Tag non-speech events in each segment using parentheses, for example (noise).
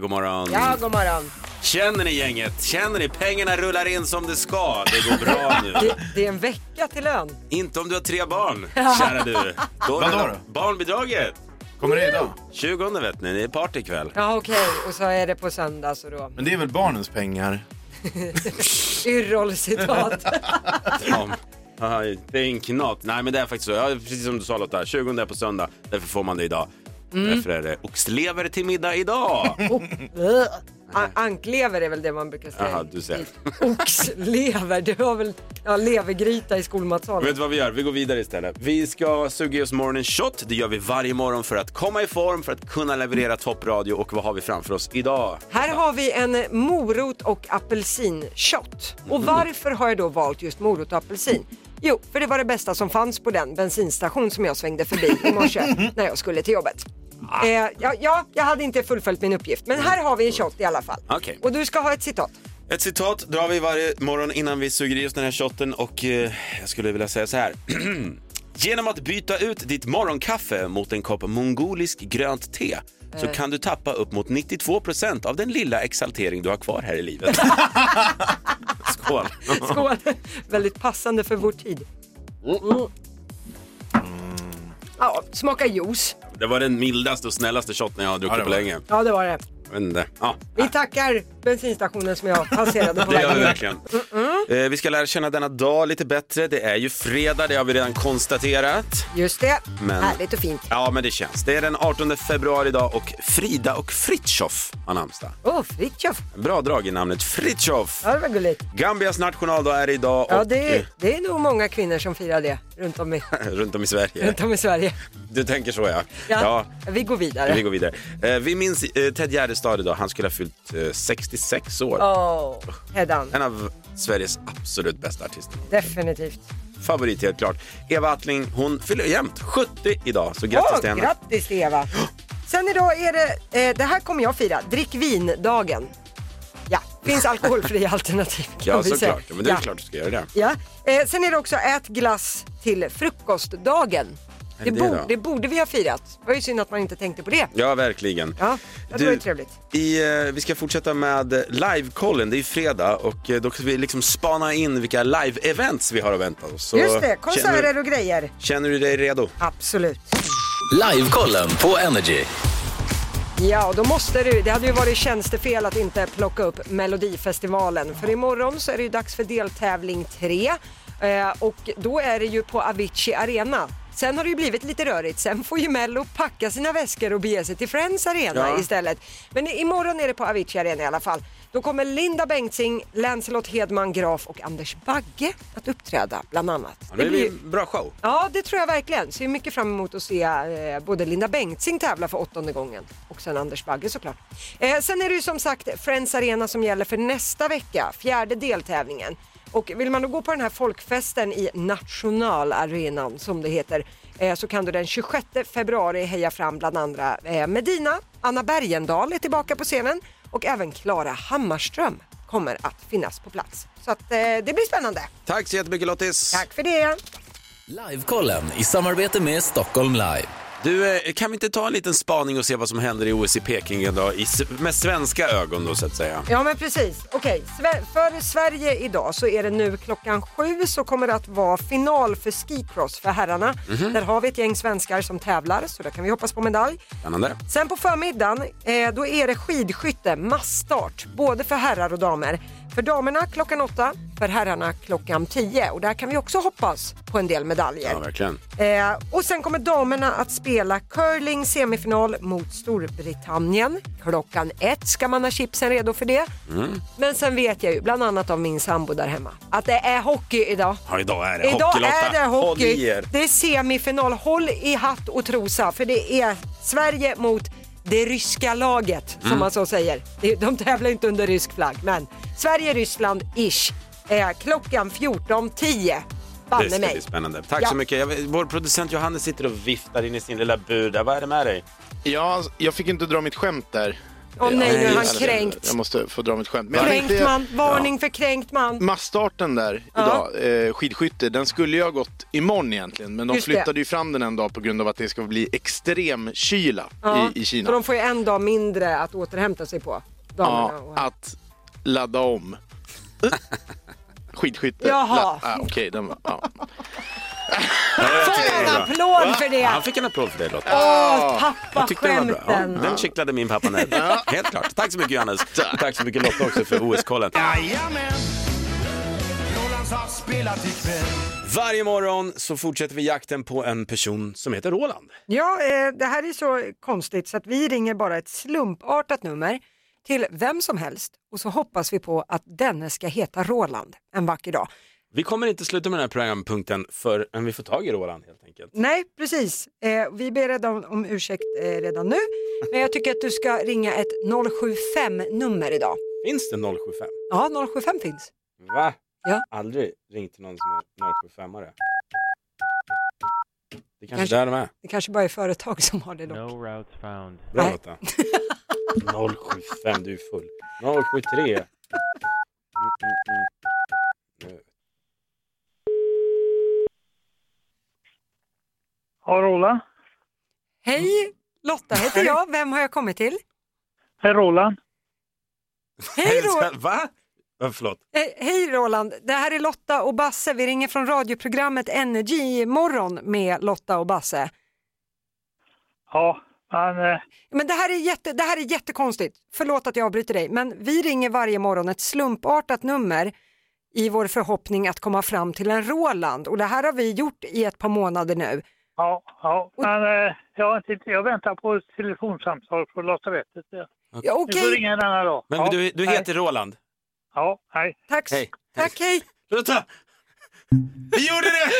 God morgon. Ja, god morgon. Känner ni gänget? Känner ni? Pengarna rullar in som det ska. Det går bra nu. (laughs) Det, det är en vecka till lön. Inte om du har tre (laughs) barn, kära du. Då Vadå rullar- Barnbidraget. Kommer det idag? 20 vet ni, det är party ikväll. Ja, okej. Och så är det på söndag så då. Men det är väl barnens pengar? (laughs) Yrrol-citat. Ja. Aj, Det är en knat. Nej men det är faktiskt så. Ja, precis som du sa Lotta, 20 är på söndag. Därför får man det idag. Mm. Därför är det oxlever till middag (laughs) idag. An- Anklever är väl det man brukar säga. Jaha, du ser. Oxlever, det var väl ja, levergryta i skolmatsalen. Vet du vad vi gör? Vi går vidare istället. Vi ska suga i oss morgonen shot. Det gör vi varje morgon för att komma i form, för att kunna leverera toppradio. Och vad har vi framför oss idag? Här har vi en morot och apelsinshot. Mhm. Och varför har jag då valt just morot och apelsin? Jo, för det var det bästa som fanns på den bensinstation som jag svängde förbi i morse (laughs) när jag skulle till jobbet. Ah. Eh, ja, ja, jag hade inte fullföljt min uppgift, men här har vi en shot i alla fall. Okej. Och du ska ha (laughs) ett citat. Ett citat drar vi varje morgon innan vi suger i oss den här shotten och eh, jag skulle vilja säga så här. (clears throat) Genom att byta ut ditt morgonkaffe mot en kopp mongolisk grönt te så kan du tappa upp mot 92 procent av den lilla exaltering du har kvar här i livet. Skål! Skål! Väldigt passande för vår tid. Mm. Ja, smaka juice. Det var den mildaste och snällaste shotten jag har druckit Ja, det på var det. länge. Ja, det var det. Jag vet inte. Ja, Vi tackar bensinstationen som jag passerade på det gör vi vägen. hit. verkligen. Eh, vi ska lära känna denna dag lite bättre. Det är ju fredag, det har vi redan konstaterat. Just det. Men- Härligt och fint. Ja, men det känns. Det är den 18 februari idag och Frida och Fritjof har namnsdag. Åh, oh, Fritiof. Bra drag i namnet Fritjof. Ja, det var gulligt. Gambias nationaldag är det idag och Ja, det är, det är nog många kvinnor som firar det runt om i, (laughs) eh, (laughs) runt om i Sverige. runt om i Sverige. Du tänker så ja. Ja, Vi går ja, vi vidare. går vidare. Eh, Vi minns eh, Ted Gärdestad idag. Han skulle ha fyllt eh, 66 år. Åh, Heddan. En av Sveriges absolut bästa artister. Definitivt. Favorit helt klart. Eva Attling, hon fyller jämt 70 idag. Så grattis Åh, till henne. grattis till (gasps) Eva. Sen idag är det, eh, det här kommer jag fira, drick vin-dagen. Ja, (laughs) finns alkoholfria alternativ kan ja, vi säga. såklart. Ja, Men det är ja. klart du ska göra det. Ja. Eh, sen är det också ät glass till frukostdagen. Är Det, det det bo- då? det borde vi ha firat. Det var ju synd att man inte tänkte på det. Ja, verkligen. Ja, det var ju trevligt. I, eh, vi ska fortsätta med eh, livekollen. Det är ju fredag och eh, då ska vi liksom spana in vilka live-events vi har att vänta oss. Så Just det, konserter Känner, och grejer. känner du dig redo? Absolut. Livekollen på Energy. Ja, och då måste du. Det hade ju varit tjänstefel att inte plocka upp Melodifestivalen. För imorgon så är det ju dags för deltävling 3. Eh, och då är det ju på Avicii Arena. Sen har det ju blivit lite rörigt. Sen får ju Mello packa sina väskor och bege sig till Friends Arena Ja. istället. Men i- imorgon är det på Avicii Arena i alla fall. Då kommer Linda Bengtzing, Lancelot Hedman Graf och Anders Bagge att uppträda bland annat. Ja, det blir en bra show. Ja, det tror jag verkligen. Ser mycket fram emot att se eh, både Linda Bengtzing tävla för åttonde gången och sen Anders Bagge såklart. Eh, sen är det ju som sagt Friends Arena som gäller för nästa vecka, fjärde deltävlingen. Och vill man då gå på den här folkfesten i nationalarenan som det heter eh, så kan du den 26 februari heja fram bland andra eh, Medina, Anna Bergendahl är tillbaka på scenen och även Klara Hammarström kommer att finnas på plats. Så att eh, det blir spännande. Tack så jättemycket Lottis. Tack för det! Livekollen i samarbete med Stockholm Live. Du, eh, kan vi inte ta en liten spaning och se vad som händer i OS i Peking idag i, s- med svenska ögon då så att säga? Ja men precis. Okej, Sve- för Sverige idag så är det nu klockan sju så kommer det att vara final för skicross för herrarna. Där har vi ett gäng svenskar som tävlar så där kan vi hoppas på medalj. Spännande. Sen på förmiddagen eh, då är det skidskytte, massstart, både för herrar och damer. För damerna klockan åtta, för herrarna klockan tio och där kan vi också hoppas på en del medaljer. Ja, verkligen. Eh, och sen kommer damerna att spela curling semifinal mot Storbritannien. Klockan ett ska man ha chipsen redo för det. Mm. Men sen vet jag ju, bland annat av min sambo där hemma, att det är hockey idag. Ja, idag är det Idag hockey är det Håll i hockey. er. Det är semifinal. Håll i hatt och trosa för det är Sverige mot det ryska laget Mm. som man så säger. Det- De tävlar inte under rysk flagg men Sverige-Ryssland-ish. Eh, klockan 14.10. Det Banne ska mig. bli spännande. Tack Ja. så mycket. Jag, vet- vår producent Johannes sitter och viftar in i sin lilla bur där. Vad är det med dig? Ja, jag fick inte dra mitt skämt där. Åh nej, nu är han Eller, kränkt. Jag måste få dra mitt skämt. Men Mm, jag Kränkt tänkte- man, varning för kränkt man. Massstarten där idag, eh, skidskytte, den skulle ju ha gått imorgon egentligen. Men de Just det. flyttade ju fram den en dag på grund av att det ska bli extrem kyla Ja, i, i Så Kina. de får ju en dag mindre att återhämta sig på. Damerna Ja, och- att ladda om. (laughs) Skidskytte. Jaha. La- ah, Okej, den var... Ja. En applåd för det! Han fick en applåd för det Lotta. Åh, Jag tyckte det var bra. Ja, pappaskämten! den kittlade min pappa nöjd. Helt klart. Tack så mycket Johannes. Tack, så mycket Lotta också för OS-kollen. Varje morgon så fortsätter vi jakten på en person som heter Roland. Ja, eh, det här är så konstigt så att vi ringer bara ett slumpartat nummer till vem som helst och så hoppas vi på att denne ska heta Roland en vacker dag. Vi kommer inte sluta med den här programpunkten förrän vi får tag i Roland helt enkelt. Nej, precis. Eh, vi ber redan om ursäkt eh, redan nu, men jag tycker att du ska ringa ett 075-nummer idag. Finns det 075? Ja, 075 finns. Va? Ja. Aldrig ringt till någon som är 075-are. Det kanske, Kanske- där de är. Det kanske bara är företag som har det då. No routes found. Bra Nej. Lotta. 075, du är full. 073. Mm, mm, mm. Ja, Roland. Hej, Lotta heter jag. Vem har jag kommit till? Hej, Roland. Hej, Ro- Va? Ja, förlåt. eh, hej Roland, det här är Lotta och Basse. Vi ringer från radioprogrammet Energy morgon med Lotta och Basse. Ja, men eh, Men det här, är jätte, det här är jättekonstigt. Förlåt att jag avbryter dig, men vi ringer varje morgon ett slumpartat nummer i vår förhoppning att komma fram till en Roland och det här har vi gjort i ett par månader nu. ja, ja, men eh, jag, har inte- jag väntar på ett telefonsamtal från lasarettet. Ni Ja, får Okej, ringa en annan dag. Men ja, du, du hej. heter Roland? Ja, hej. tack. Hej. Tack, hej. Lotta! Vi gjorde det!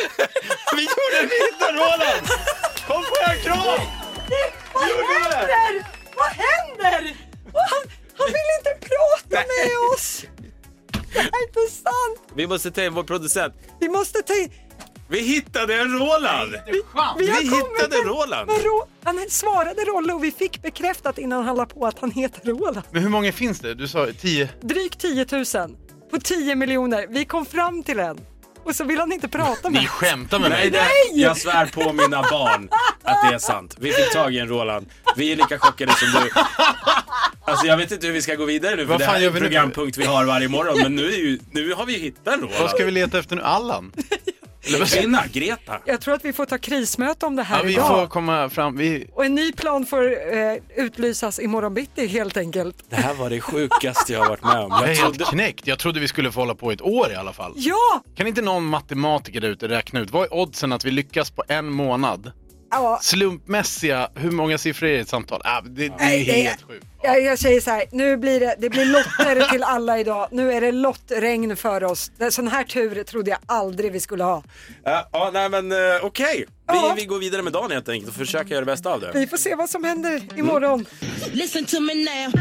Vi gjorde det! Vi hittade Roland! Kom på en kram! Vad händer? Vad händer? Och Han, han vill inte prata med oss. Det här är inte sant. Vi måste ta in vår producent. Vi måste ta in... Vi hittade en Roland! Vi, har Vi kommit hittade med- Roland. med Ro- han svarade Rolle och vi fick bekräftat innan han la på att han heter Roland. Men hur många finns det? Du sa tio? drygt 10 000 på 10 miljoner. Vi kom fram till en och så vill han inte prata med oss. Skämta med Nej, det, jag svär på mina barn att det är sant. Vi fick tag i en Roland. Vi är lika chockade som du. Alltså jag vet inte hur vi ska gå vidare nu för Vad det fan här är gör en vi nu? programpunkt vi har varje morgon. Men nu, är ju, nu har vi ju hittat en Roland. Vad ska vi leta efter nu? Allan? Eller vad Kvinna, Greta. Jag tror att vi får ta krismöte om det här Ja, vi idag. får komma fram. Vi... Och en ny plan får eh, utlysas imorgon bitti helt enkelt. Det här var det sjukaste jag har varit med om. Jag Jag är trodde... helt knäckt. Jag trodde vi skulle få hålla på i ett år i alla fall. Ja! Kan inte någon matematiker där ute räkna ut, vad är oddsen att vi lyckas på en månad? ja Slumpmässiga, hur många siffror är det i ett samtal? Ah, det, det är Nej, det är- helt sjukt. jag, jag säger så här, nu blir det, det blir lotter (laughs) till alla idag. Nu är det lottregn för oss. Det- Sån här tur trodde jag aldrig vi skulle ha. Ja, ja, nej men eh, okej. Ja. Vi, vi går vidare med dagen helt enkelt och försöker göra det bästa av det. Vi får se vad som händer imorgon. Listen to me now.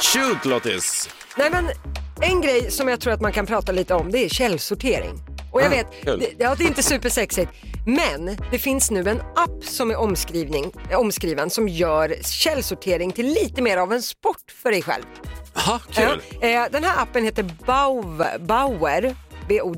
Shoot Lottis! Nej men en grej som jag tror att man kan prata lite om det är källsortering. Och jag Ah, vet, kul. det, ja, det är inte supersexigt. Men det finns nu en app som är omskrivning, eh, omskriven som gör källsortering till lite mer av en sport för dig själv. Jaha, kul. Ja, eh, den här appen heter Bauer, Bauer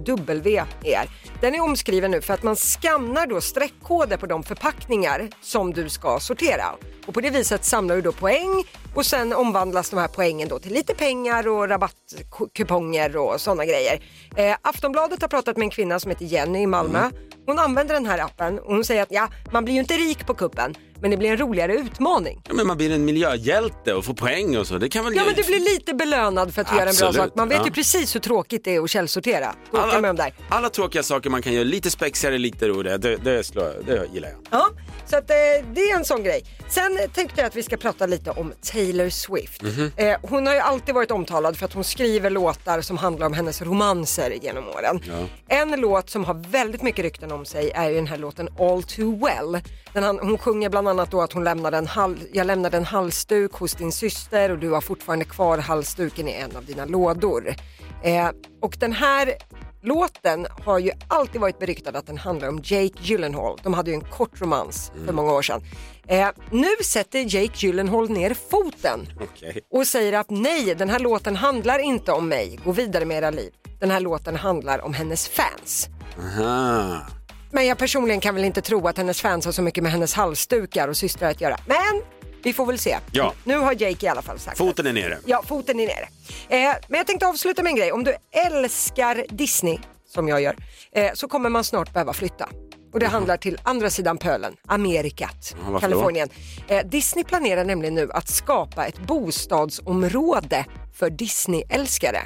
B-O-W-E-R. Den är omskriven nu för att man skannar då streckkoder på de förpackningar som du ska sortera. Och på det viset samlar du då poäng och sen omvandlas de här poängen då till lite pengar och rabattkuponger och sådana grejer. Eh, Aftonbladet har pratat med en kvinna som heter Jenny i Malmö. Hon använder den här appen och hon säger att ja, man blir ju inte rik på kuppen men det blir en roligare utmaning. Ja, men man blir en miljöhjälte och får poäng och så. Det kan väl Ja men du blir lite belönad för att du gör en bra Absolut, sak. Man vet ja. ju precis hur tråkigt det är att källsortera. Då åker man med om där. alla, alla tråkiga saker man kan göra, lite spexigare, lite roligare, det, det, slår, det gillar jag. Ja, så att, eh, det är en sån grej. Sen tänkte jag att vi ska prata lite om Taylor Swift. Eh, hon har ju alltid varit omtalad för att hon skriver låtar som handlar om hennes romanser genom åren. En låt som har väldigt mycket rykten om sig är ju den här låten All Too Well. Den han, hon sjunger bland annat då att hon lämnade en, hal, jag lämnade en halsduk hos din syster och du har fortfarande kvar halsduken i en av dina lådor. Eh, och den här Låten har ju alltid varit beryktad att den handlar om Jake Gyllenhaal. De hade ju en kort romans Mm. för många år sedan. Eh, nu sätter Jake Gyllenhaal ner foten Okej. och säger att nej, den här låten handlar inte om mig, gå vidare med era liv. Den här låten handlar om hennes fans. Aha. Men jag personligen kan väl inte tro att hennes fans har så mycket med hennes halsdukar och systrar att göra. Men vi får väl se. Ja. Nu har Jake i alla fall sagt Foten är nere. Ja, foten är nere. Eh, men jag tänkte avsluta med en grej. Om du älskar Disney, som jag gör, eh, så kommer man snart behöva flytta. Och det handlar till andra sidan pölen, Amerikat, Ja, varför då? Kalifornien. Eh, Disney planerar nämligen nu att skapa ett bostadsområde (laughs) för Disney-älskare.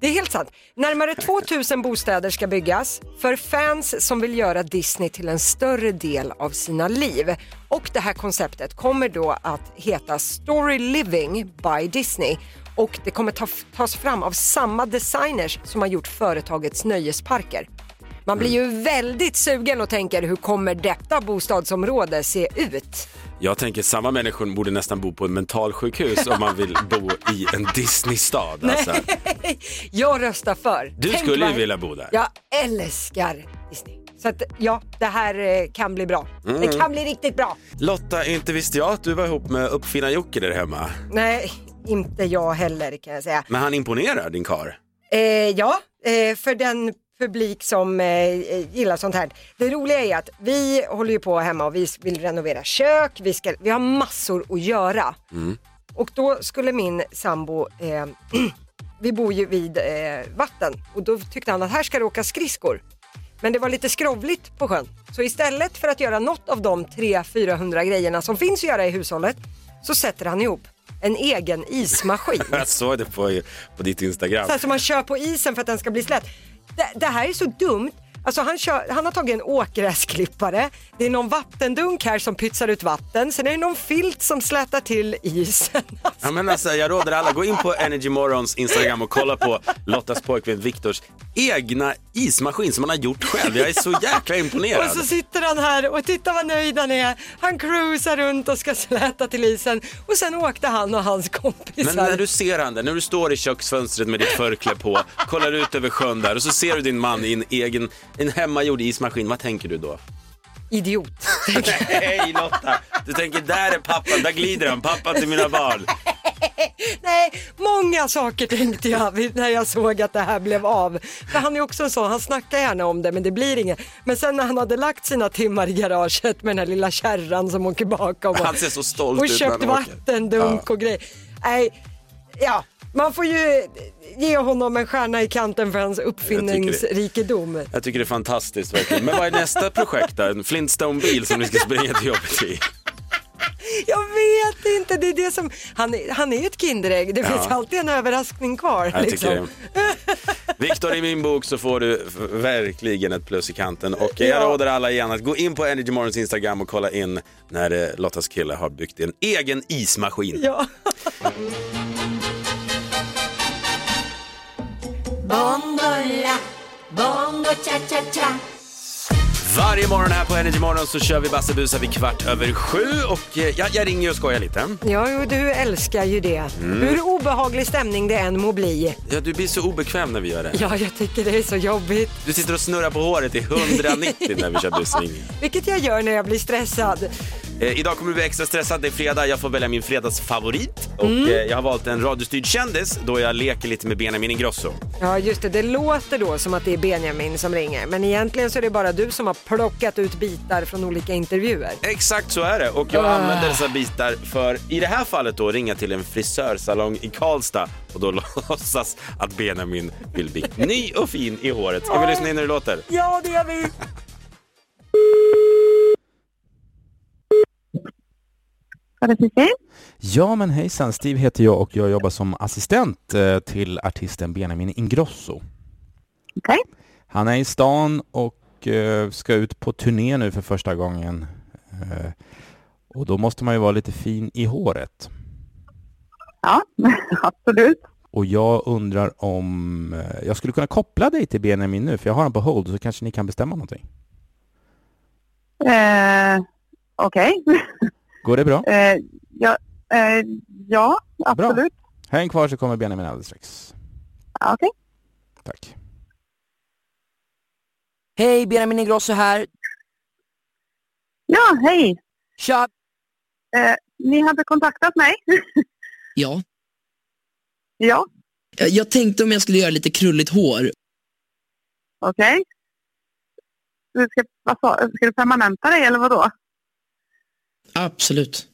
Det är helt sant. Närmare 2000 bostäder ska byggas för fans som vill göra Disney till en större del av sina liv. Och det här konceptet kommer då att heta Story Living by Disney och det kommer ta, tas fram av samma designers som har gjort företagets nöjesparker. Man blir Mm. ju väldigt sugen och tänker hur kommer detta bostadsområde se ut? Jag tänker samma människor borde nästan bo på en mentalsjukhus om man vill bo i en Disneystad. Alltså. Jag röstar för. Du Tänk skulle ju vad- vilja bo där. Jag älskar Disney. Så att, ja, det här eh, kan bli bra. Det Mm. kan bli riktigt bra. Lotta, inte visste jag att du var ihop med Uppfinnar-Jocke där hemma. Nej, inte jag heller kan jag säga. Men han imponerar, din kar. Eh, ja, eh, för den publik som eh, gillar sånt här. Det roliga är att vi håller ju på hemma och vi vill renovera kök, vi, ska, vi har massor att göra. Och då skulle min sambo, eh, (clears throat) vi bor ju vid eh, vatten och då tyckte han att här ska det åka skridskor. Men det var lite skrovligt på sjön. Så istället för att göra något av de 300-400 grejerna som finns att göra i hushållet så sätter han ihop en egen ismaskin. Jag såg det på, på ditt Instagram. Så här som man kör på isen för att den ska bli slät. Det, det här är så dumt. Alltså han, kör, han har tagit en åkgräsklippare, det är någon vattendunk här som pytsar ut vatten, sen är det någon filt som slätar till isen. (laughs) Ja, men alltså, jag råder alla, gå in på Energy Morons Instagram och kolla på Lottas pojkvän Viktors egna ismaskin som han har gjort själv. Jag är så jäkla Och imponerad. så sitter han här och titta vad nöjd han är. Han cruisar runt och ska släta till isen och sen åkte han och hans kompisar. Men när du ser han där, när du står i köksfönstret med ditt förkläde på, kollar ut över sjön där och så ser du din man i en egen, en hemmagjord ismaskin, vad tänker du då? Idiot. Hej Lotta! Du tänker, där är pappan, där glider han, pappa till mina barn. Nej, många saker tänkte jag vid- när jag såg att det här blev av. För han är också en sån, han snackar gärna om det men det blir inget. Men sen när han hade lagt sina timmar i garaget med den här lilla kärran som åker bakom och, Han ser så stolt och ut när köpt han åker. vattendunk och grejer. Nej, ja, man får ju ge honom en stjärna i kanten för hans uppfinningsrikedom. Jag tycker det är fantastiskt verkligen. Men vad är nästa projekt då? En Flintstone-bil som ni ska springa till jobbet i? Jag vet inte, det är det som, han, är- han är ju ett Kinderägg, det finns alltid en överraskning kvar. Jag liksom. tycker det. Viktor, i min bok så får du f- verkligen ett plus i kanten. Och jag Ja. råder alla igen att gå in på Energy Morgons Instagram och kolla in när eh, Lottas kille har byggt en egen ismaskin. Ja. Varje morgon här på Energy Morgon så kör vi Bassebusa vid kvart över sju. Och eh, jag, jag ringer ju och skojar lite. Ja, jo, du älskar ju det. Hur obehaglig stämning det än må bli. Ja, du blir så obekväm när vi gör det. Ja, jag tycker det är så jobbigt. Du sitter och snurrar på håret i 190 när vi kör busringning. Vilket jag gör när jag blir stressad. Eh, idag kommer du bli extra stressad. Det är fredag. Jag får välja min fredagsfavorit. Och Mm. eh, jag har valt en radiostyrd kändis då jag leker lite med Benjamin Ingrosso. Ja, just det. Det låter då som att det är Benjamin som ringer. Men egentligen så är det bara du som har plockat ut bitar från olika intervjuer. Exakt så är det. Och Ah. jag använder dessa bitar för, i det här fallet då, ringa till en frisörsalong i Karlstad och då (laughs) låtsas att Benjamin vill bli ny och fin i håret. Ska vi lyssna in hur det låter? Ja, det gör vi. Ja men hejsan, Steve heter jag och jag jobbar som assistent eh, till artisten Benjamin Ingrosso. Han är i stan och eh, ska ut på turné nu för första gången. Eh, Och då måste man ju vara lite fin i håret. Ja, (laughs) absolut. Och jag undrar om eh, jag skulle kunna koppla dig till Benjamin nu för jag har honom på hold så kanske ni kan bestämma någonting. Eh, Okej. Går det bra? Eh, ja, eh, ja, absolut. Häng kvar så kommer Benjamin alldeles strax. Ja, Okej. Tack. Hej, Benjamin Ingrosso här. Ja, hej. Tja! Eh, ni hade kontaktat mig? (laughs) Ja, ja, jag- jag tänkte om jag skulle göra lite krulligt hår. okej. Du ska, vad sa, ska du permanenta dig eller vadå? Absolut.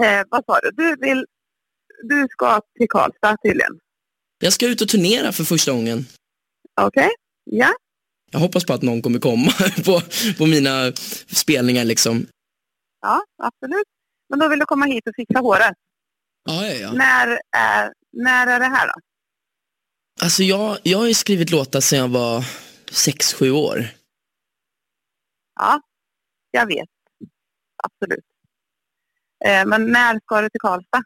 Eh, vad sa du? Du, vill, du ska till Karlstad tydligen. Jag ska ut och turnera för första gången. Okej, ja. Jag hoppas på att någon kommer komma (laughs) på, på mina spelningar liksom. Ja, absolut. Men då vill du komma hit och fixa håret. Ja, ja, ja. När, är, när är det här då? Alltså jag, jag har ju skrivit låtar sedan jag var sex sju år. Ja, jag vet. Absolut. Eh, men när ska du till Karlstad?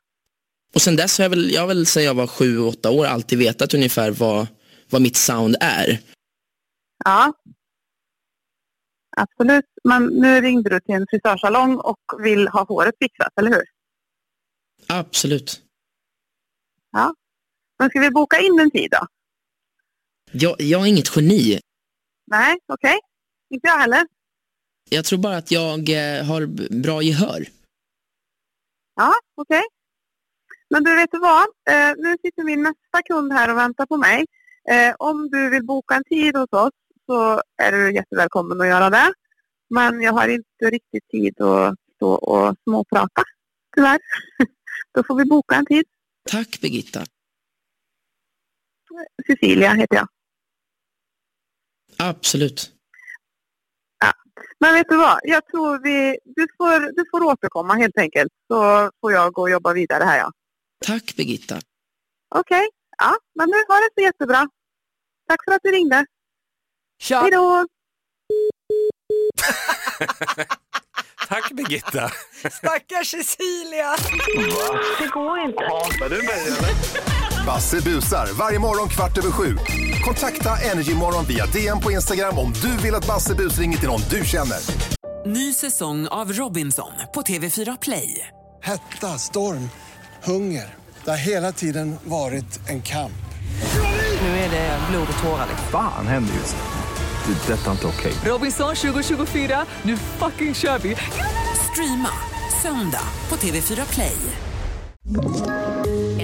Och sen dess har jag väl, jag har väl sedan jag var sju åtta år alltid vetat ungefär vad, vad mitt sound är. Ja. Absolut. Men nu ringde du till en frisörsalong och vill ha håret fixat, eller hur? Absolut. Men ska vi boka in en tid då? Jag, jag är inget geni. Nej, okej. Inte jag heller. Jag tror bara att jag eh, har b- bra gehör. Ja, okej. Men du, vet du vad? Eh, nu sitter min nästa kund här och väntar på mig. Eh, om du vill boka en tid hos oss så är du jättevälkommen att göra det. Men jag har inte riktigt tid att stå och småprata, tyvärr. (laughs) Då får vi boka en tid. Tack Birgitta. Cecilia heter jag. Absolut. Men vet du vad? Jag tror vi... Du får, du får återkomma helt enkelt. Så får jag gå och jobba vidare här, ja. Tack Birgitta. Okej. Ja, men nu har det så jättebra. Tack för att du ringde. Tja! Hej då! Tack Birgitta. Stackars Cecilia! Basse busar varje morgon kvart över sju. Kontakta Energymorgon via DM på Instagram om du vill att Basse bus ringer till någon du känner. Ny säsong av Robinson på TV4 Play. Hetta, storm, hunger. Det har hela tiden varit en kamp. Nu är det blod och tårar. Fan händer just nu. Det. är Detta är inte okej. Robinson 2024, nu fucking kör vi! Streama söndag på TV4 Play.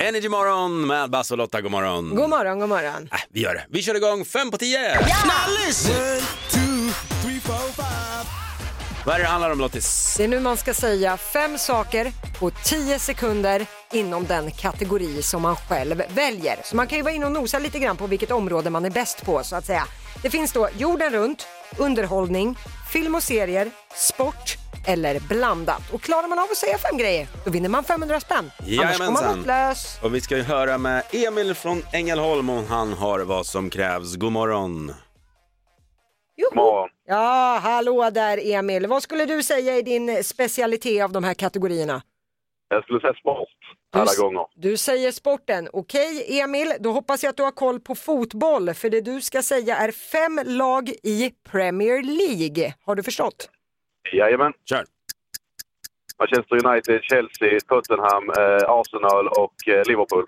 Energy morgon med Basse och Lotta. God morgon. God morgon, god morgon. Äh, vi gör det. Vi kör igång fem på tio. Vad är det det handlar om Lottis? Det är nu man ska säga fem saker på tio sekunder inom den kategori som man själv väljer. Så man kan ju vara inne och nosa lite grann på vilket område man är bäst på så att säga. Det finns då jorden runt, underhållning, film och serier, sport eller blandat. Och klarar man av att säga fem grejer, då vinner man 500 spänn. Annars går man Jajamensan. lottlös. Och vi ska ju höra med Emil från Ängelholm om han har vad som krävs. God morgon. Joho. Ja, hallå där Emil. Vad skulle du säga är din specialitet av de här kategorierna? Jag skulle säga sport. Alla gånger. Du säger sporten. Okej, Emil, då hoppas jag att du har koll på fotboll, för det du ska säga är fem lag i Premier League. Har du förstått? Jajamän. Kör. Manchester United, Chelsea, Tottenham, eh, Arsenal och eh, Liverpool.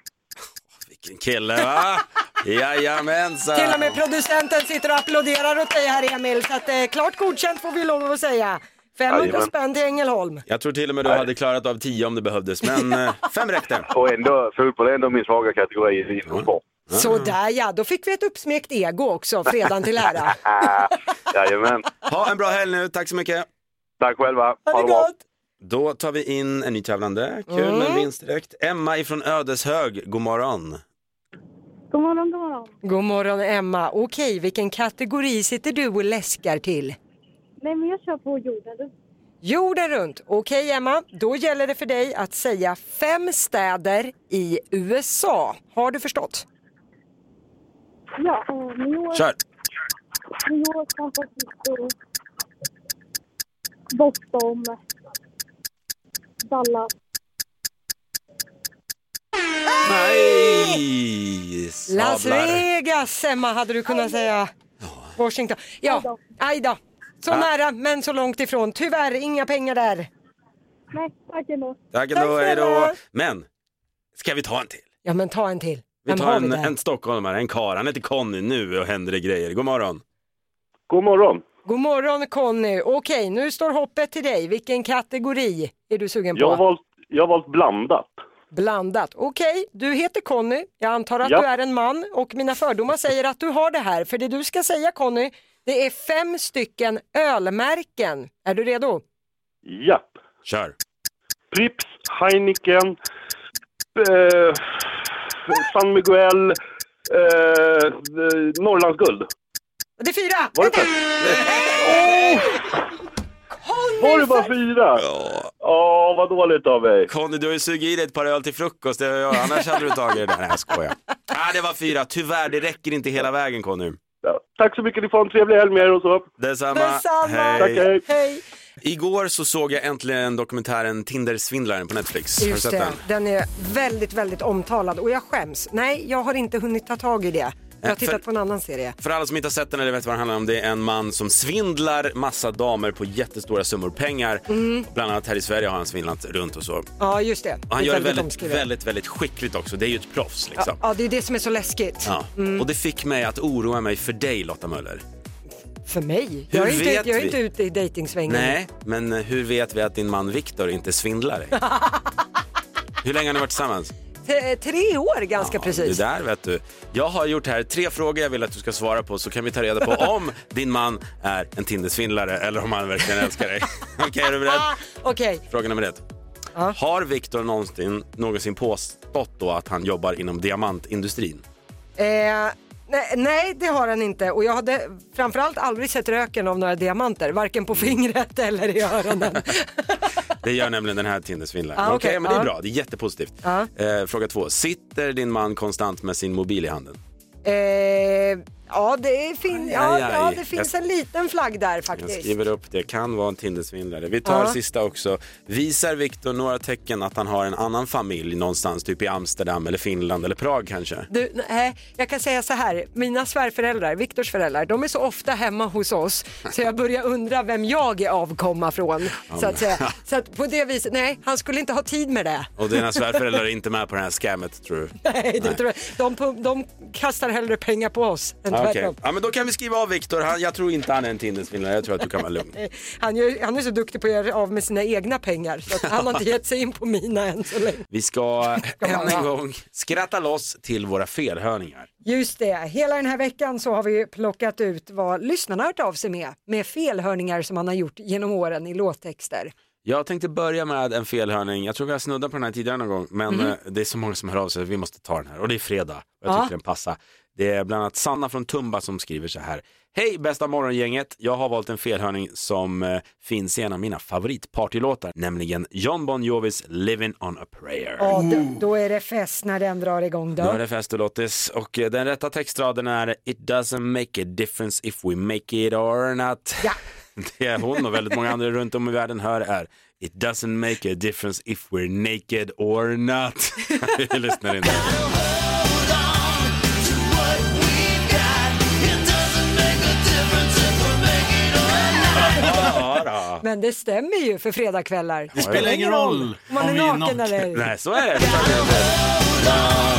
(laughs) Vilken kille va? Jajamensan. Till och med producenten sitter och applåderar åt dig här, Emil, så att eh, klart godkänt får vi lov att säga. 500 Jajamän. spänn till Ängelholm. Jag tror till och med du hade klarat av tio om det behövdes, men (laughs) eh, fem räckte. Och ändå, fotboll är ändå min svaga kategori inom sport. Sådär ja, då fick vi ett uppsmekt ego också, fredagen (laughs) till ära. Ah, jajamän. Ha en bra helg nu, tack så mycket. Tack själva. Ha det bra. gott! Då tar vi in en ny tävlande. Kul Mm. med vinst direkt. Emma ifrån Ödeshög, god morgon. God morgon, god morgon. God morgon Emma. Okej, vilken kategori sitter du och läskar till? Nej, men jag kör på jorden. Jorden runt. Okej Emma, då gäller det för dig att säga fem städer i USA. Har du förstått? Ja, eh, New York. Kör! New York, San Francisco. Boston. Dallas. Nej! Las Sablar. Vegas, Emma, hade du kunnat säga. Washington. Ja, aj då. Så Ah. nära, men så långt ifrån. Tyvärr, inga pengar där. Nej, tack ändå. Tack ändå, hej då. snälla. Men, ska vi ta en till? Ja, men ta en till. Vi Vem tar har vi en, där? en stockholmare, en karl. Han heter Conny nu och händer det grejer. God morgon. God morgon. God morgon Conny. Okej, nu står hoppet till dig. Vilken kategori är du sugen Jag har, på? valt, jag har valt blandat. Blandat. Okej, du heter Conny. Jag antar att Ja. du är en man och mina fördomar säger att du har det här. För det du ska säga Conny, det är fem stycken ölmärken. Är du redo? Ja. Kör. Pripps, Heineken, eh, San Miguel, eh, eh, Norrlandsguld. Det är fyra! Var det fem? Var det bara fyra? Ja, oh, vad dåligt av mig. Conny, du har ju sugit i dig ett par öl till frukost. Det har jag. Annars hade du tagit det där. Nej, jag (laughs) skojar. Ah, det var fyra. Tyvärr, det räcker inte hela vägen Conny. Tack så mycket, ni får en trevlig helg med er och så. Detsamma. Detsamma. Tack, hej. Igår så såg jag äntligen dokumentären Tinder-svindlaren på Netflix. har du Just sett det, den? den är väldigt, väldigt omtalad och jag skäms. Nej, jag har inte hunnit ta tag i det. Jag har Nej, för- tittat på en annan serie. För alla som inte har sett den eller vet vad den handlar om, det är en man som svindlar massa damer på jättestora summor pengar. Mm. Bland annat här i Sverige har han svindlat runt och så. Och Ja, just det. han Det är gör det väldigt, omskrivet. väldigt, väldigt skickligt också. Det är ju ett proffs liksom. Ja, det är det som är så läskigt. Ja. Mm. Och det fick mig att oroa mig för dig Lotta Möller. För mig? Hur jag är inte, vet jag är vi? inte ute i dejtingsvängen. Nej, men eh, hur vet vi att din man Viktor inte svindlar (laughs) dig? hur länge har ni varit tillsammans? T- eh, Tre år ganska precis. Det där vet du. Jag har gjort här tre frågor jag vill att du ska svara på så kan vi ta (laughs) reda på om din man är en Tindersvindlare eller om han verkligen älskar (laughs) dig. Okej, är du beredd? Ah, Okej, Fråga nummer ett. Har Viktor någonsin, någonsin påstått då att han jobbar inom diamantindustrin? eh, nej, nej det har han inte och jag hade framförallt aldrig sett röken av några diamanter, varken Mm. på fingret (laughs) eller (laughs) i öronen. Det gör nämligen den här Tindersvindlaren. Ah, Okej, okej, men det är ja. bra. Det är jättepositivt. Ja. Eh, fråga två. Sitter din man konstant med sin mobil i handen? eh, ja, det är fin- ja, aj, aj. ja, det finns Jag- en liten flagg där Jag faktiskt. skriver upp det. Kan vara en Tindersvindlare. Vi tar Ja. sista också. Visar Viktor några tecken att han har en annan familj någonstans, typ i Amsterdam eller Finland eller Prag kanske? Du, nej, jag kan säga så här, mina svärföräldrar, Viktors föräldrar, de är så ofta hemma hos oss så jag börjar undra vem jag är avkomma från. Så (laughs) att, säga. så att på det viset, nej, han skulle inte ha tid med det. (laughs) Och dina svärföräldrar är inte med på det här scammet tror du? Nej, det tror jag. De, pu- de kastar hellre pengar på oss än Ah, tvärtom. okej. Ja, men då kan vi skriva av Viktor. Han- Jag tror inte han är en Tindersvindlare. Jag tror att du kan vara lugn. Han, gör, han är så duktig på att göra av med sina egna pengar så att han (laughs) har inte gett sig in på mina än så länge. Vi (laughs) ska än bara- en gång skratta loss till våra felhörningar. Just det, hela den här veckan så har vi plockat ut vad lyssnarna har hört av sig med, med felhörningar som man har gjort genom åren i låttexter. Jag tänkte börja med en felhörning. Jag tror vi har snuddat på den här tidigare någon gång, men eh, det är så många som hör av sig så vi måste ta den här. Och det är fredag och jag Ja. tycker den passar. Det är bland annat Sanna från Tumba som skriver så här. Hej bästa morgongänget! Jag har valt en felhörning som eh, finns i en av mina favoritpartylåtar, nämligen John Bon Jovis Living on a prayer. Ja, Mm. då, då är det fest när den drar igång Nu är då. det fest och lottis och eh, den rätta textraden är It doesn't make a difference if we make it or not. (laughs) Det hon och väldigt många andra runt om i världen hör är It doesn't make a difference if we're naked or not. (laughs) Vi lyssnar in. Ja, då. Men det stämmer ju för fredagkvällar. Det spelar ingen roll om man är om vi är naken, nakna. eller ej. Nej, så är det. Så är det.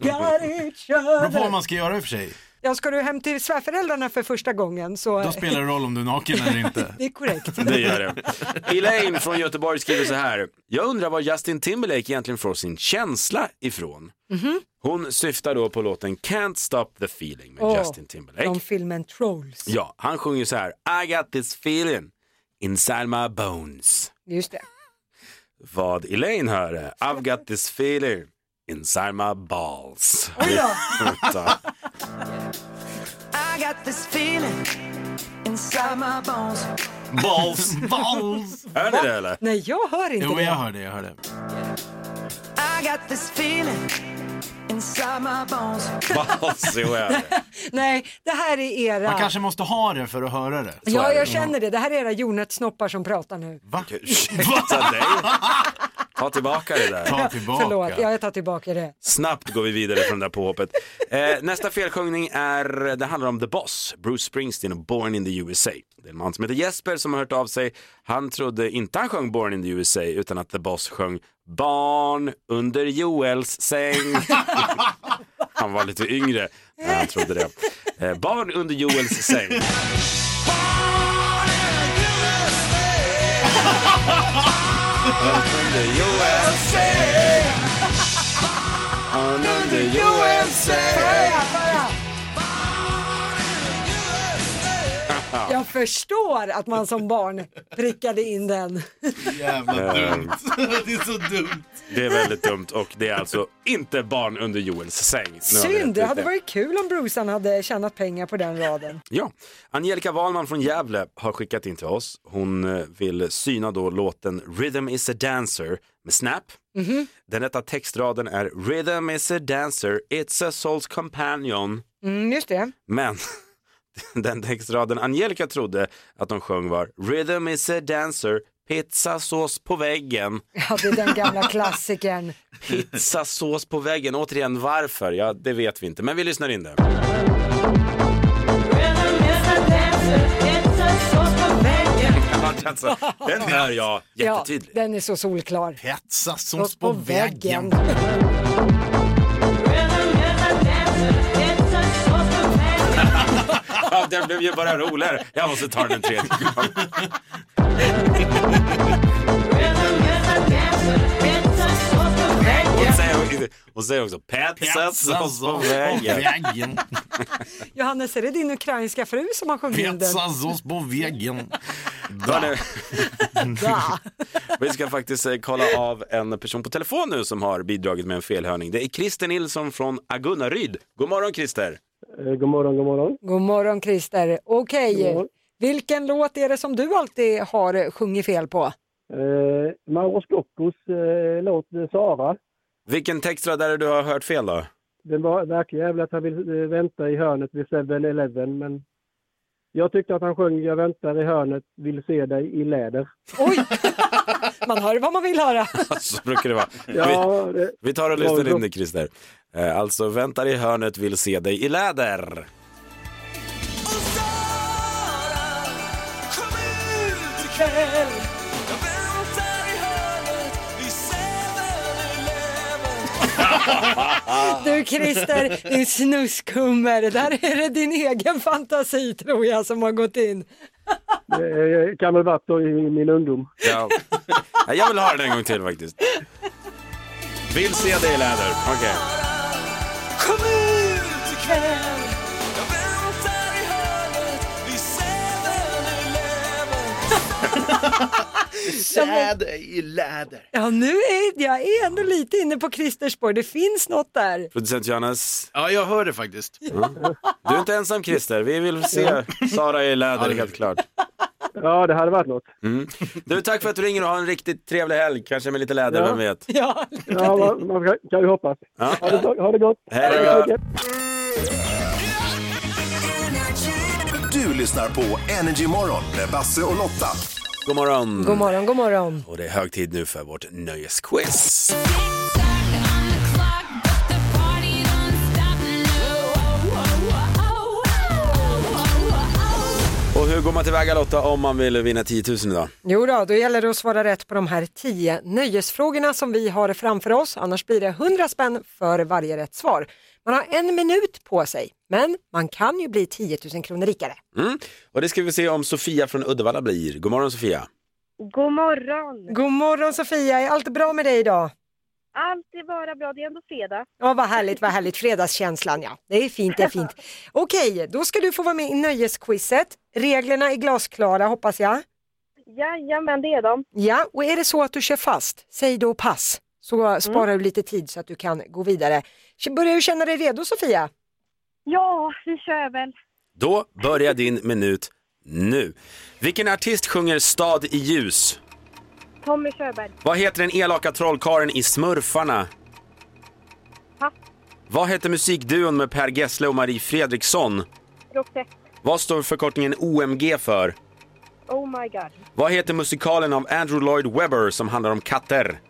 Beror på vad man ska göra i och för sig. Ja, ska du hem till svärföräldrarna för första gången så... Då spelar det roll om du är naken eller inte. (laughs) Det är korrekt. Det gör det. Elaine från Göteborg skriver så här. Jag undrar var Justin Timberlake egentligen får sin känsla ifrån. Mhm. Hon syftar då på låten Can't Stop the Feeling med Åh, Justin Timberlake. Från filmen Trolls. Ja, han sjunger så här. I got this feeling inside my bones. Just det. Vad Elaine hör är I've got this feeling inside my balls. Oj då. (laughs) Vänta. I got this feeling inside my bones. Balls. Balls. Hör ni det eller? Nej, jag hör inte (laughs) Jo, det. jag hör det, jag hör det. I got this feeling inside my bones. Nej, det här är era... Man kanske måste ha det för att höra det. Ja, jag känner det. Det här är era jordnötssnoppar som pratar nu. Va? Ursäkta dig. Ta tillbaka det där. Ta tillbaka. Förlåt, ja, jag tar tillbaka det. Snabbt går vi vidare från det där påhoppet. Eh, nästa felsjungning är, det handlar om The Boss, Bruce Springsteen och Born in the USA. Det är en man som heter Jesper som har hört av sig. Han trodde inte han sjöng Born in the USA utan att The Boss sjöng Barn under Joels (laughs) säng. han var lite yngre när han trodde det. Eh, barn under Joels säng. Barn under Joels säng. Barn under Joels säng. Jag förstår att man som barn prickade in den. Jävla (laughs) dumt. det är så dumt. Det är väldigt dumt och det är alltså inte barn under Joels säng. Nu har vi Synd, rätt det ut hade varit kul om Brucean hade tjänat pengar på den raden. Ja, Angelica Wahlman från Gävle har skickat in till oss. Hon eh, vill syna då låten Rhythm is a dancer med Snap. Mhm. Den rätta textraden är Rhythm is a dancer, it's a soul's companion. Mm, just det. Men (laughs) den textraden Angelica trodde att de sjöng var Rhythm is a dancer, pizzasås på väggen. Ja, det är den (laughs) gamla klassikern. Pizzasås på väggen, återigen varför? Ja, det vet vi inte, men vi lyssnar in det. Alltså, den hör jag jättetydligt. Ja, den är så solklar. Pizzasås på, väggen. Ja, den blev ju bara roligare. Jag måste ta den en tredje gång. Hon säger, hon säger också pizzasås alltså, på väggen. (laughs) Johannes, är det din ukrainska fru som har sjungit in den? Pizzasås på väggen. Hörni, Ja. Vi ska faktiskt eh, kolla av en person på telefon nu som har bidragit med en felhörning. Det är Christer Nilsson från Agunnaryd. God morgon Christer! Eh, God morgon, god morgon. God morgon Christer. Okej, God morgon. vilken låt är det som du alltid har sjungit fel på? Eh, Mauro Scoccos eh, låt Sara. Vilken textrad är det du har hört fel då? (laughs) Det var- verkar jävligt att han vill eh, vänta i hörnet vid 7-Eleven, men jag tyckte att han sjöng Jag väntar i hörnet, vill se dig i läder. (laughs) Man hör vad man vill höra. Så brukar det vara. Ja, Vi, det- vi tar och det var lyssnar bra. in det Christer. Eh, Alltså väntar i hörnet, vill se dig i läder. Du Christer, din snuskummer, där är det din egen fantasi tror jag som har gått in. Det eh, kan väl varit då i min ungdom. Ja. Nej, Jag vill ha den en gång till faktiskt. Vill se dig i läder. Okej. Kom ut ikväll. Sad i läder. Ja, nu är jag är ändå lite inne på Christers spår, det finns något där. Producent Johannes. Ja, jag hör det faktiskt. Du är inte ensam Christer. Vi vill se Ja. Sara i läder helt klart. Ja, det hade varit något. Mm. Du, tack för att du ringer och ha en riktigt trevlig helg. Kanske med lite läder, Ja. vem vet. Ja, Ja, man, man kan- kan ju hoppas. Ja. Ha, det, ha det gott! Hej då. Ha det gott. Du lyssnar på Energy Morgon med Basse och Lotta. God morgon. God morgon, god morgon. Och det är hög tid nu för vårt nöjesquiz. Och hur går man tillväga Lotta om man vill vinna 10 000 idag? Jo då, då gäller det att svara rätt på de här tio nöjesfrågorna som vi har framför oss. Annars blir det 100 spänn för varje rätt svar. Man har en minut på sig, men man kan ju bli 10 000 kronor rikare. Mm. Och det ska vi se om Sofia från Uddevalla blir. God morgon Sofia. God morgon! God morgon Sofia, är allt bra med dig idag? Allt är bara bra, det är ändå fredag. Ja, vad härligt, vad härligt. Fredagskänslan, ja. Det är fint, det är fint. Okej, då ska du få vara med i nöjesquizet. Reglerna är glasklara, hoppas jag. Jajamän, det är de. Ja, och är det så att du kör fast, säg då pass. Så sparar du lite tid så att du kan gå vidare. Börjar du känna dig redo Sofia? Ja, vi kör väl. Då börjar din minut nu. Vilken artist sjunger Stad i ljus? Tommy Körberg. Vad heter den elaka trollkaren i Smurfarna? Vad hette musikduon med Per Gessle och Marie Fredriksson? Roxette. Vad står förkortningen OMG för? Oh my god. Vad heter musikalen av Andrew Lloyd Webber som handlar om katter?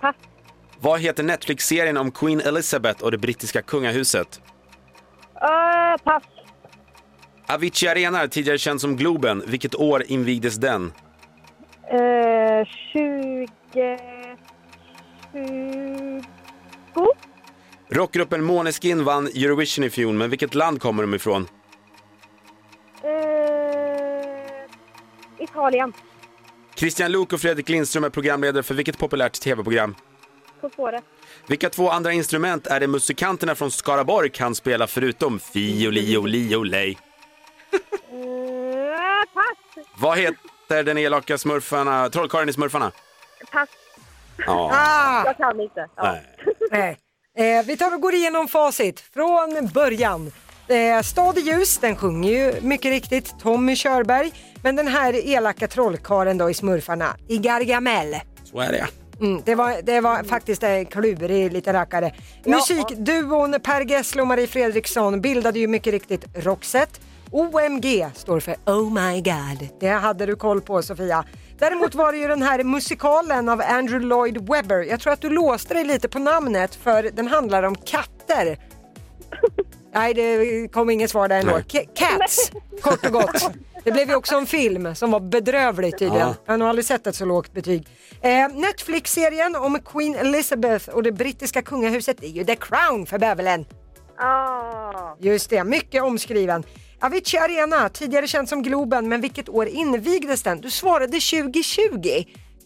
Pass. Vad heter Netflix-serien om Queen Elizabeth och det brittiska kungahuset? Uh, pass. Avicii Arena, tidigare känd som Globen, vilket år invigdes den? Uh, 20... 20... Rockgruppen Måneskin vann Eurovision i fjol, men vilket land kommer de ifrån? Uh, Italien. Christian Luuk och Fredrik Lindström är programledare för vilket populärt tv-program? På spåret. Vilka två andra instrument är det musikanterna från Skaraborg kan spela förutom fiolioliolej? Uh, pass. Vad heter den elaka smurfarna, trollkarlen i Smurfarna? Pass. Ja. Jag kan inte. Ja. Nej. Ah, Nej. Eh, vi tar och går igenom facit från början. Eh, Stad i ljus, den sjunger ju mycket riktigt Tommy Körberg. Men den här elaka trollkaren då i Smurfarna, i Gargamel. Så är det Mm, det, var, det var faktiskt en klurig liten rackare. Musikduon Per Gessle och Marie Fredriksson bildade ju mycket riktigt Roxette. OMG står för Oh My God. Det hade du koll på Sofia. Däremot var det ju den här musikalen av Andrew Lloyd Webber. Jag tror att du låste dig lite på namnet för den handlar om katter. Nej, det kom inget svar där ändå. Nej. Ca- Cats, kort och gott. Det blev ju också en film som var bedrövlig tydligen. Ja. Jag har nog aldrig sett ett så lågt betyg. Eh, Netflix-serien om Queen Elizabeth och det brittiska kungahuset det är ju The Crown för bävelen. Ah. Just det, mycket omskriven. Avicii Arena, tidigare känd som Globen, men vilket år invigdes den? Du svarade 2020.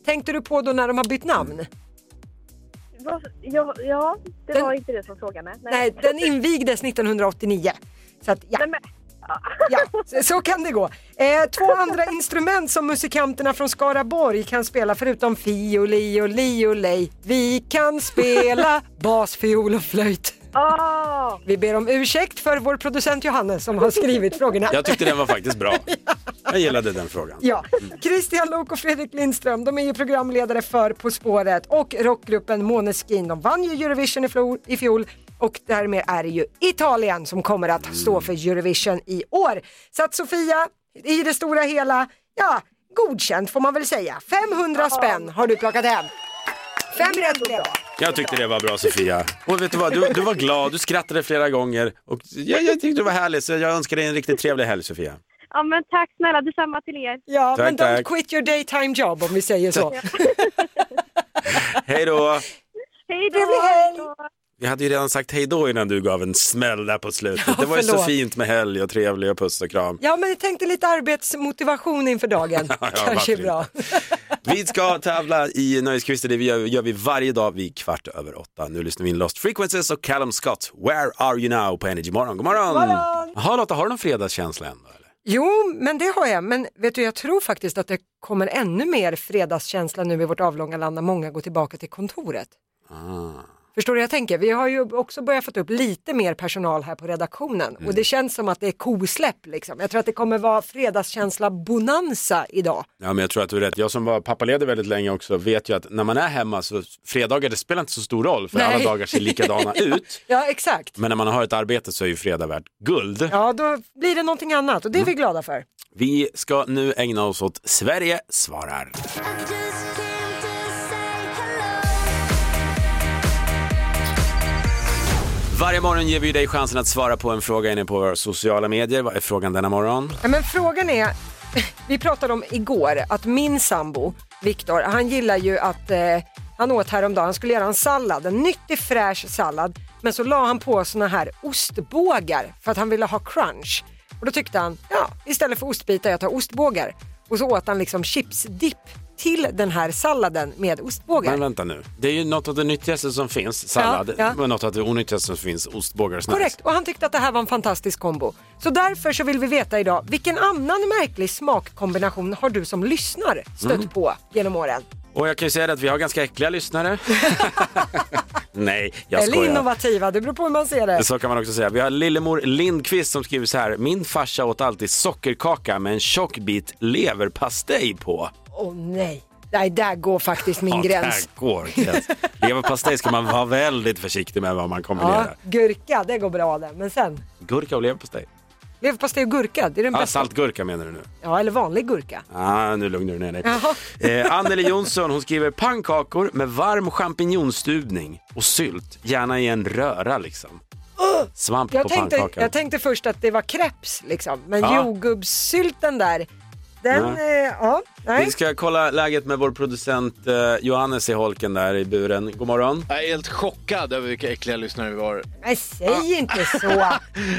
Tänkte du på då när de har bytt namn? Vad- Ja, ja, det var inte det som frågade mig. Nej, den invigdes 1989. Så att, ja. ja, så- så kan det gå. Eh, två andra instrument som musikanterna från Skaraborg kan spela förutom fioli och li och lej. Vi kan spela bas, fiol och flöjt. Ah. Vi ber om ursäkt för vår producent Johannes som har skrivit frågorna. Jag tyckte den var faktiskt bra. Jag gillade den frågan. Ja, Christian Lok och Fredrik Lindström, de är ju programledare för På spåret och rockgruppen Måneskin. De vann ju Eurovision i fjol, i fjol och därmed är det ju Italien som kommer Mm. att stå för Eurovision i år. Så att Sofia, i det stora hela, ja, godkänt får man väl säga. 500 spänn har du plockat hem. Fem rätt blev det. Jag tyckte det var bra Sofia. Och vet du vad, du, du var glad, du skrattade flera gånger och jag, jag tyckte det var härligt så jag önskar dig en riktigt trevlig helg Sofia. Ja, men tack snälla. Detsamma till er. Ja, Tack, men don't tack. quit your daytime job om vi säger så. Hej då! Hej då! Trevlig helg! Vi hade ju redan sagt hej då innan du gav en smäll där på slutet. det var ju så förlåt. fint med helg och trevlig och puss och kram. Ja, men jag tänkte lite arbetsmotivation inför dagen. (laughs) Ja, Kanske är varför bra. Vi (laughs) ska tävla i Nöjesquizen, det gör, gör vi varje dag vid kvart över åtta. Nu lyssnar vi in Lost Frequences och Callum Scott, Where Are You Now på Energy Morgon. God morgon! God morgon! Jaha Lotta, har du någon fredagskänsla än? Jo, men det har jag. Men vet du, jag tror faktiskt att det kommer ännu mer fredagskänsla nu i vårt avlånga land när många går tillbaka till kontoret. Förstår du vad jag tänker? Vi har ju också börjat få upp lite mer personal här på redaktionen och det känns som att det är kosläpp liksom. Jag tror att det kommer vara fredagskänsla-bonanza idag. Ja, men jag tror att du är rätt. Jag som var pappaledig väldigt länge också vet ju att när man är hemma så fredagar det spelar inte så stor roll för alla Nej. dagar ser (laughs) likadana ut. Ja, exakt. Men när man har ett arbete så är ju fredag värt guld. Ja, då blir det någonting annat och det är vi glada för. Vi ska nu ägna oss åt Sverige svarar. Varje morgon ger vi dig chansen att svara på en fråga inne på våra sociala medier. Vad är frågan denna morgon? Ja, men frågan är, (laughs) vi pratade om igår att min sambo Viktor, han gillar ju att eh, han åt häromdagen, han skulle göra en sallad, en nyttig fräsch sallad, men så la han på såna här ostbågar för att han ville ha crunch. Och då tyckte han, ja, istället för ostbitar jag tar ostbågar. Och så åt han liksom chipsdipp till den här salladen med ostbågar. Men vänta nu, det är ju något av det nyttigaste som finns, sallad, ja. men något av det onyttigaste som finns, ostbågar och snaps. Korrekt, och han tyckte att det här var en fantastisk kombo. Så därför så vill vi veta idag, vilken annan märklig smakkombination har du som lyssnar stött Mm. på genom åren? Och jag kan ju säga det att vi har ganska äckliga (laughs) lyssnare. Nej, jag Eller skojar. innovativa, det beror på hur man ser det. Så kan man också säga. Vi har Lillemor Lindqvist som skriver så här. Min farsa åt alltid sockerkaka med en tjock bit leverpastej på. Åh nej. Nej, där går faktiskt min gräns. Där går (laughs) gräns. Leverpastej ska man vara väldigt försiktig med vad man Ja, kombinerar. gurka, det går bra det. Men sen, Gurka och leverpastej. leverpastej och gurka, det är den Ah, bästa. saltgurka menar du nu? Ja, eller vanlig gurka. Ah, nu lugnar du ner dig. Jaha. Eh, Anneli Jonsson hon skriver pannkakor med varm champinjonstuvning och sylt, gärna i en röra liksom. Ugh! Svamp Jag på tänkte, pannkakan. jag tänkte först att det var kreps liksom, men Ja. jordgubbssylten där, den, Nej. eh, ja, nej. Vi ska kolla läget med vår producent eh, Johannes i holken där i buren. God morgon. Jag är helt chockad över vilka äckliga lyssnare vi har. Nej, säg inte så.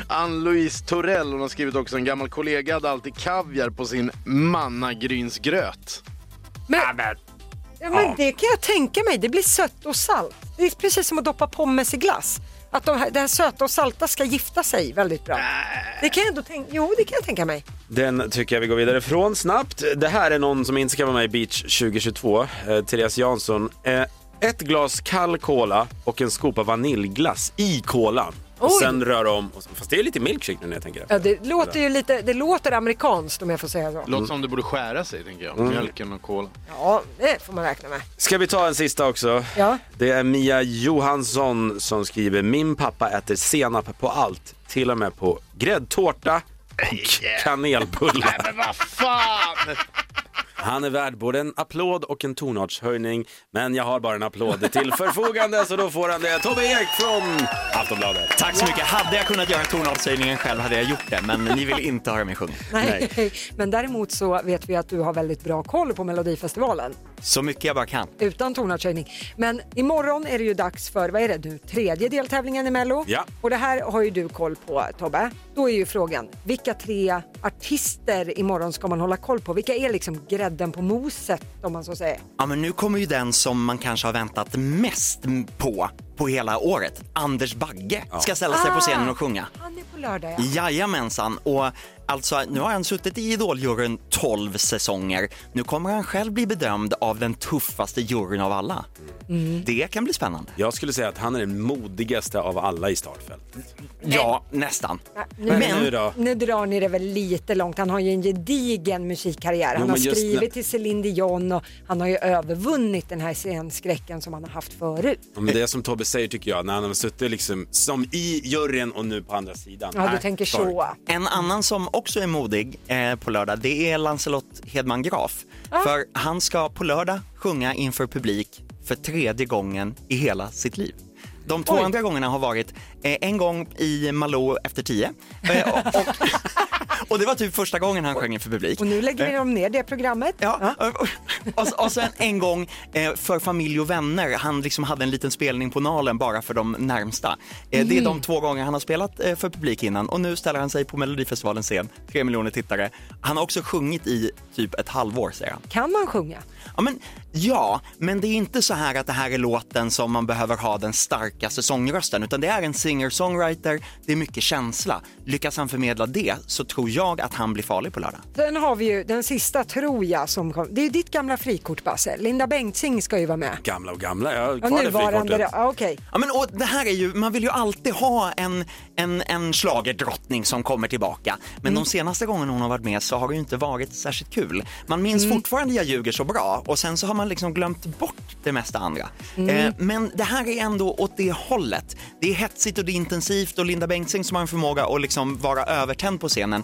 Ann-Louise Torell, hon har skrivit också, en gammal kollega hade alltid kaviar på sin mannagrynsgröt. Men, ja, men det kan jag tänka mig, det blir sött och salt. Det är precis som att doppa pommes i glass. Att de här, det här söta och salta ska gifta sig väldigt bra. Det kan jag ändå tänka, jo det kan jag tänka mig. Den tycker jag vi går vidare från snabbt. Det här är någon som inte ska vara med i Beach 2022. Eh, Therese Jansson. Eh, ett glas kall cola och en skopa vaniljglass i kolan. Och Oj. sen rör om. och så- Fast det är lite milkshake nu när jag tänker efter. Ja, det låter ju lite, det låter amerikanskt om jag får säga så. Låter som det borde skära sig, tänker jag. Mm. Mjölken och kolan. Ja, det får man räkna med. Ska vi ta en sista också? Ja. Det är Mia Johansson som skriver Min pappa äter senap på allt, till och med på gräddtårta och kanelbullar. Vad Ah, fan! Han är värd både en applåd och en tonartshöjning, men jag har bara en applåd till förfogande så då får han det. Tobbe Ek från Aftonbladet. Tack så mycket. Hade jag kunnat göra tonartshöjningen själv hade jag gjort det, men ni vill inte höra mig sjunga. Nej. (laughs) Men däremot så vet vi att du har väldigt bra koll på Melodifestivalen. Så mycket jag bara kan. Utan tonartshöjning. Men imorgon är det ju dags för, vad är det nu, tredje deltävlingen i Mello? Ja. Och det här har ju du koll på Tobbe. Då är ju frågan, vilka tre artister imorgon ska man hålla koll på? Vilka är liksom grädden på moset om man så säger? Ja, men nu kommer ju den som man kanske har väntat mest på på hela året. Anders Bagge ska ställa sig på scenen och sjunga. Han är på lördag ja. Jajamensan. Och alltså, nu har han suttit i Idoljuryn 12 säsonger. Nu kommer han själv bli bedömd av den tuffaste juryn av alla. Det kan bli spännande. Jag skulle säga att han är den modigaste av alla i startfältet. Ja, nästan. Men nu då? nu drar ni det väl lite långt. Han har ju en gedigen musikkarriär. Han Jo, har men just skrivit när- till Celine Dion och han har ju övervunnit den här scenskräcken som han har haft förut. Ja, Men det är som Tobbe säger tycker jag, när han har suttit liksom som i juryn och nu på andra sidan. Äh, Ja, du Nej, tänker sorry. så. En annan som också är modig eh, på lördag, det är Lancelot Hedman Graf. För han ska på lördag sjunga inför publik för tredje gången i hela sitt liv. De två Oj. andra gångerna har varit eh, en gång i Malou efter tio eh, och, (laughs) och, och det var typ första gången han sjöng inför publik. Och nu lägger de ner det programmet. Ja. Och, s- och sen en gång eh, för familj och vänner. Han liksom hade en liten spelning på Nalen bara för de närmsta. Eh, Det är de Mm. två gånger han har spelat eh, för publik innan och nu ställer han sig på Melodifestivalens scen. Tre miljoner tittare. Han har också sjungit i typ ett halvår säger han. Kan man sjunga? Ja men, ja, men det är inte så här att det här är låten som man behöver ha den starkaste sångrösten utan det är en singer-songwriter, det är mycket känsla. Lyckas han förmedla det så tror jag att han blir farlig på lördag. Sen har vi ju den sista tror jag som kom. Det är ju ditt gamla frikort Basse. Linda Bengtzing ska ju vara med. Gamla och gamla, jag har Ja, kvar det nuvarande. frikortet. då. Ja, okej. Ja, men, och det här är ju, man vill ju alltid ha en, en, en schlagerdrottning som kommer tillbaka. Men de senaste gångerna hon har varit med så har det ju inte varit särskilt kul. Man minns fortfarande Jag ljuger så bra och sen så har man liksom glömt bort det mesta andra. Mm. Eh, men det här är ändå åt det hållet. Det är hetsigt och det är intensivt och Linda Bengtzing som har en förmåga att liksom vara övertänd på scenen.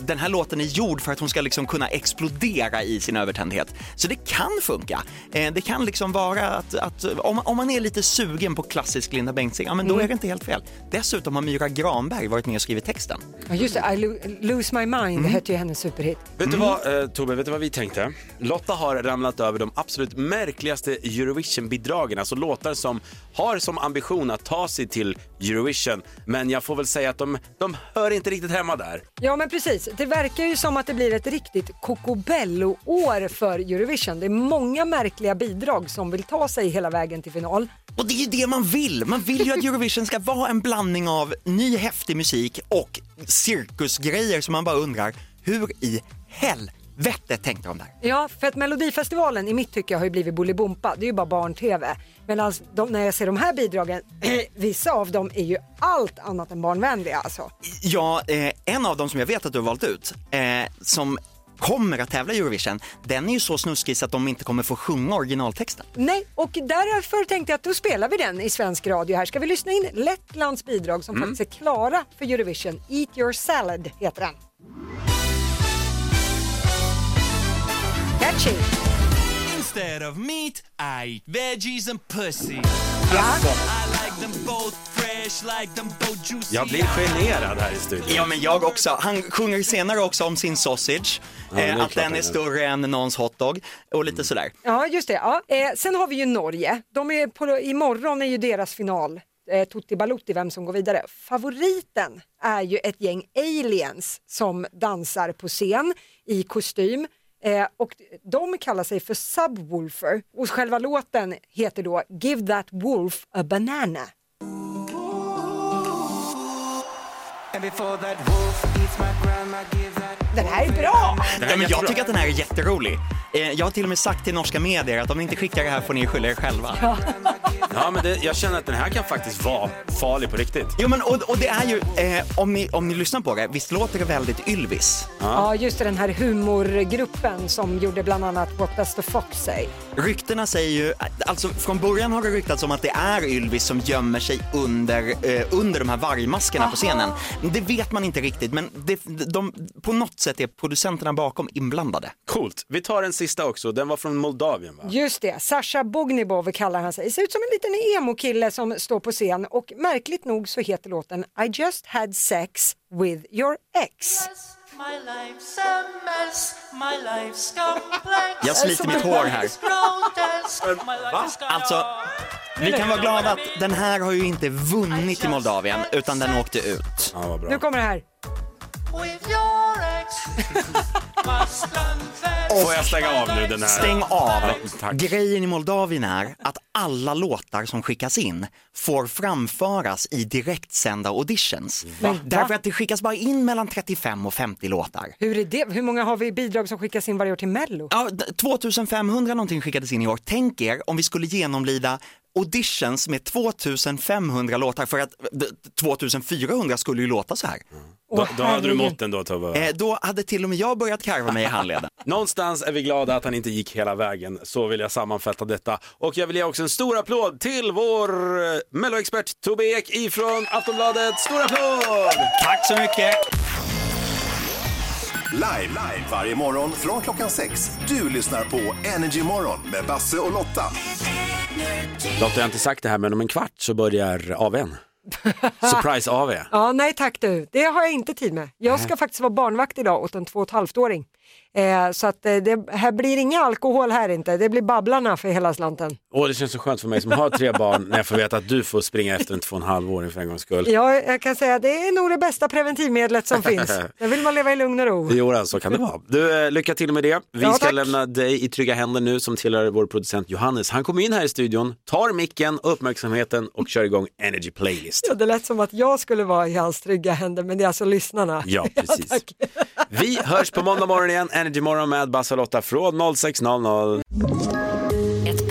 Den här låten är gjord för att hon ska liksom kunna explodera i sin övertändhet. Så det kan funka. Eh, det kan liksom vara att, att om, om man är lite sugen på klassisk Linda Bengtzing, ja men då är det inte helt fel. Dessutom har Myra Granberg varit med och skrivit texten. Ja, just det, I lo- lose my Mm. mind hette ju hennes superhit. Vet du vad, eh, Tobbe, vet du vad vi tänkte? Lotta har ramlat över de absolut märkligaste Eurovision-bidragen, alltså låtar som har som ambition att ta sig till Eurovision, men jag får väl säga att de, de hör inte riktigt hemma där. Ja men precis, det verkar ju som att det blir ett riktigt kokobello-år för Eurovision. Det är många märkliga bidrag som vill ta sig hela vägen till final. Och det är ju det man vill! Man vill ju att Eurovision ska vara en blandning av ny häftig musik och cirkusgrejer som man bara undrar, hur i helvete tänkte de där? Ja, för att Melodifestivalen i mitt tycke har ju blivit Bolibompa, det är ju bara barn-tv. Medan de, när jag ser de här bidragen, (clears throat) vissa av dem är ju allt annat än barnvänliga alltså. Ja, eh, en av dem som jag vet att du har valt ut, eh, som kommer att tävla i Eurovision, den är ju så snuskig så att de inte kommer få sjunga originaltexten. Nej, och därför tänkte jag att då spelar vi den i svensk radio här. Ska vi lyssna in Lettlands bidrag som Mm. faktiskt är klara för Eurovision. Eat your salad heter den. Catchy! Instead of meat, I eat veggies and pussy. Alltså. I like them both fresh, like them both juicy. Jag blir generad här i studion. Ja, men jag också. Han sjunger senare också om sin sausage, Ja, det är eh, klart att den han är gör. Mm. större än någons hotdog och lite sådär. Ja, just det. Ja. Eh, sen har vi ju Norge. De är på, imorgon är ju deras final. Eh, Tutti Balutti, vem som går vidare. Favoriten är ju ett gäng aliens som dansar på scen i kostym. Eh, och de kallar sig för Subwoofer och själva låten heter då Give That Wolf a Banana. And before that wolf eats my grandma, give that Den här är bra! Ja, men jag tycker att den här är jätterolig. Eh, Jag har till och med sagt till norska medier att om ni inte skickar det här får ni skylla er själva. Ja, men det, jag känner att den här kan faktiskt vara farlig på riktigt. Jo, men och, och det är ju, eh, om, ni, om ni lyssnar på det, visst låter det väldigt Ylvis? Ja, just det, den här humorgruppen som gjorde bland annat What Does the Fox Say? Ryktena säger ju, alltså från början har det ryktats om att det är Ylvis som gömmer sig under, eh, under de här vargmaskerna på scenen. Det vet man inte riktigt, men det, de, på något sätt är producenterna bakom inblandade. Coolt. Vi tar den sista också. Den var från Moldavien, va? Just det, Sasha Bognibov kallar han sig. Ser ut som en liten emo-kille som står på scen och märkligt nog så heter låten I just had sex with your ex. My life's a mess, my life's complex. Jag Alltså, sliter mitt hår här. Va? Alltså, vi kan vara glada att den här har ju inte vunnit i Moldavien, utan den åkte ut. Ja, vad Nu kommer det här. With your ex, must confess. Får jag stänga av nu den här? Stäng av. Ja, tack. Grejen i Moldavien är att alla låtar som skickas in får framföras i direktsända auditions. Men va? Därför att det skickas bara in mellan 35 och 50 låtar. Hur, är det? Hur många har vi i bidrag som skickas in varje år till Mello? Ja, d- 2500 någonting skickades in i år. Tänk er om vi skulle genomlida auditions med 2500 låtar för att d- 2400 skulle ju låta så här. Då, då hade du mått den då, Tobbe. Eh, då hade till och med jag börjat karva mig i handleden. Någonstans är vi glada att han inte gick hela vägen, så vill jag sammanfatta detta. Och jag vill ge också en stor applåd till vår eh, melloexpert Tobbe Ek ifrån Aftonbladet. Stor applåd! (laughs) Tack så mycket! Live, live varje morgon från klockan sex. Du lyssnar på Energy Morgon med Basse och Lotta. Lotta, jag har inte sagt det här, men om en kvart så börjar (laughs) AWn. Surprise AW. Ja, nej tack du. Det har jag inte tid med. Jag ska Nej. faktiskt vara barnvakt idag åt en två och ett halvt-åring. Eh, så att eh, det här blir inga alkohol här inte. Det blir Babblarna för hela slanten. Åh, det känns så skönt för mig som har tre barn när jag får veta att du får springa efter en två och en halv åring för en gångs skull. Ja, jag kan säga att det är nog det bästa preventivmedlet som finns. Där vill man leva i lugn och ro. Jo, då, så kan det vara. Du, eh, lycka till med det. Vi Ja, ska tack. lämna dig i trygga händer nu som tillhör vår producent Johannes. Han kommer in här i studion, tar micken, uppmärksamheten och kör igång Energy Playlist. Ja, det lät som att jag skulle vara i hans trygga händer, men det är alltså (laughs) lyssnarna. Ja, precis. tack. Vi hörs på måndag morgon igen, Energy Morgon med Basse och Lotta från 06.00. Ett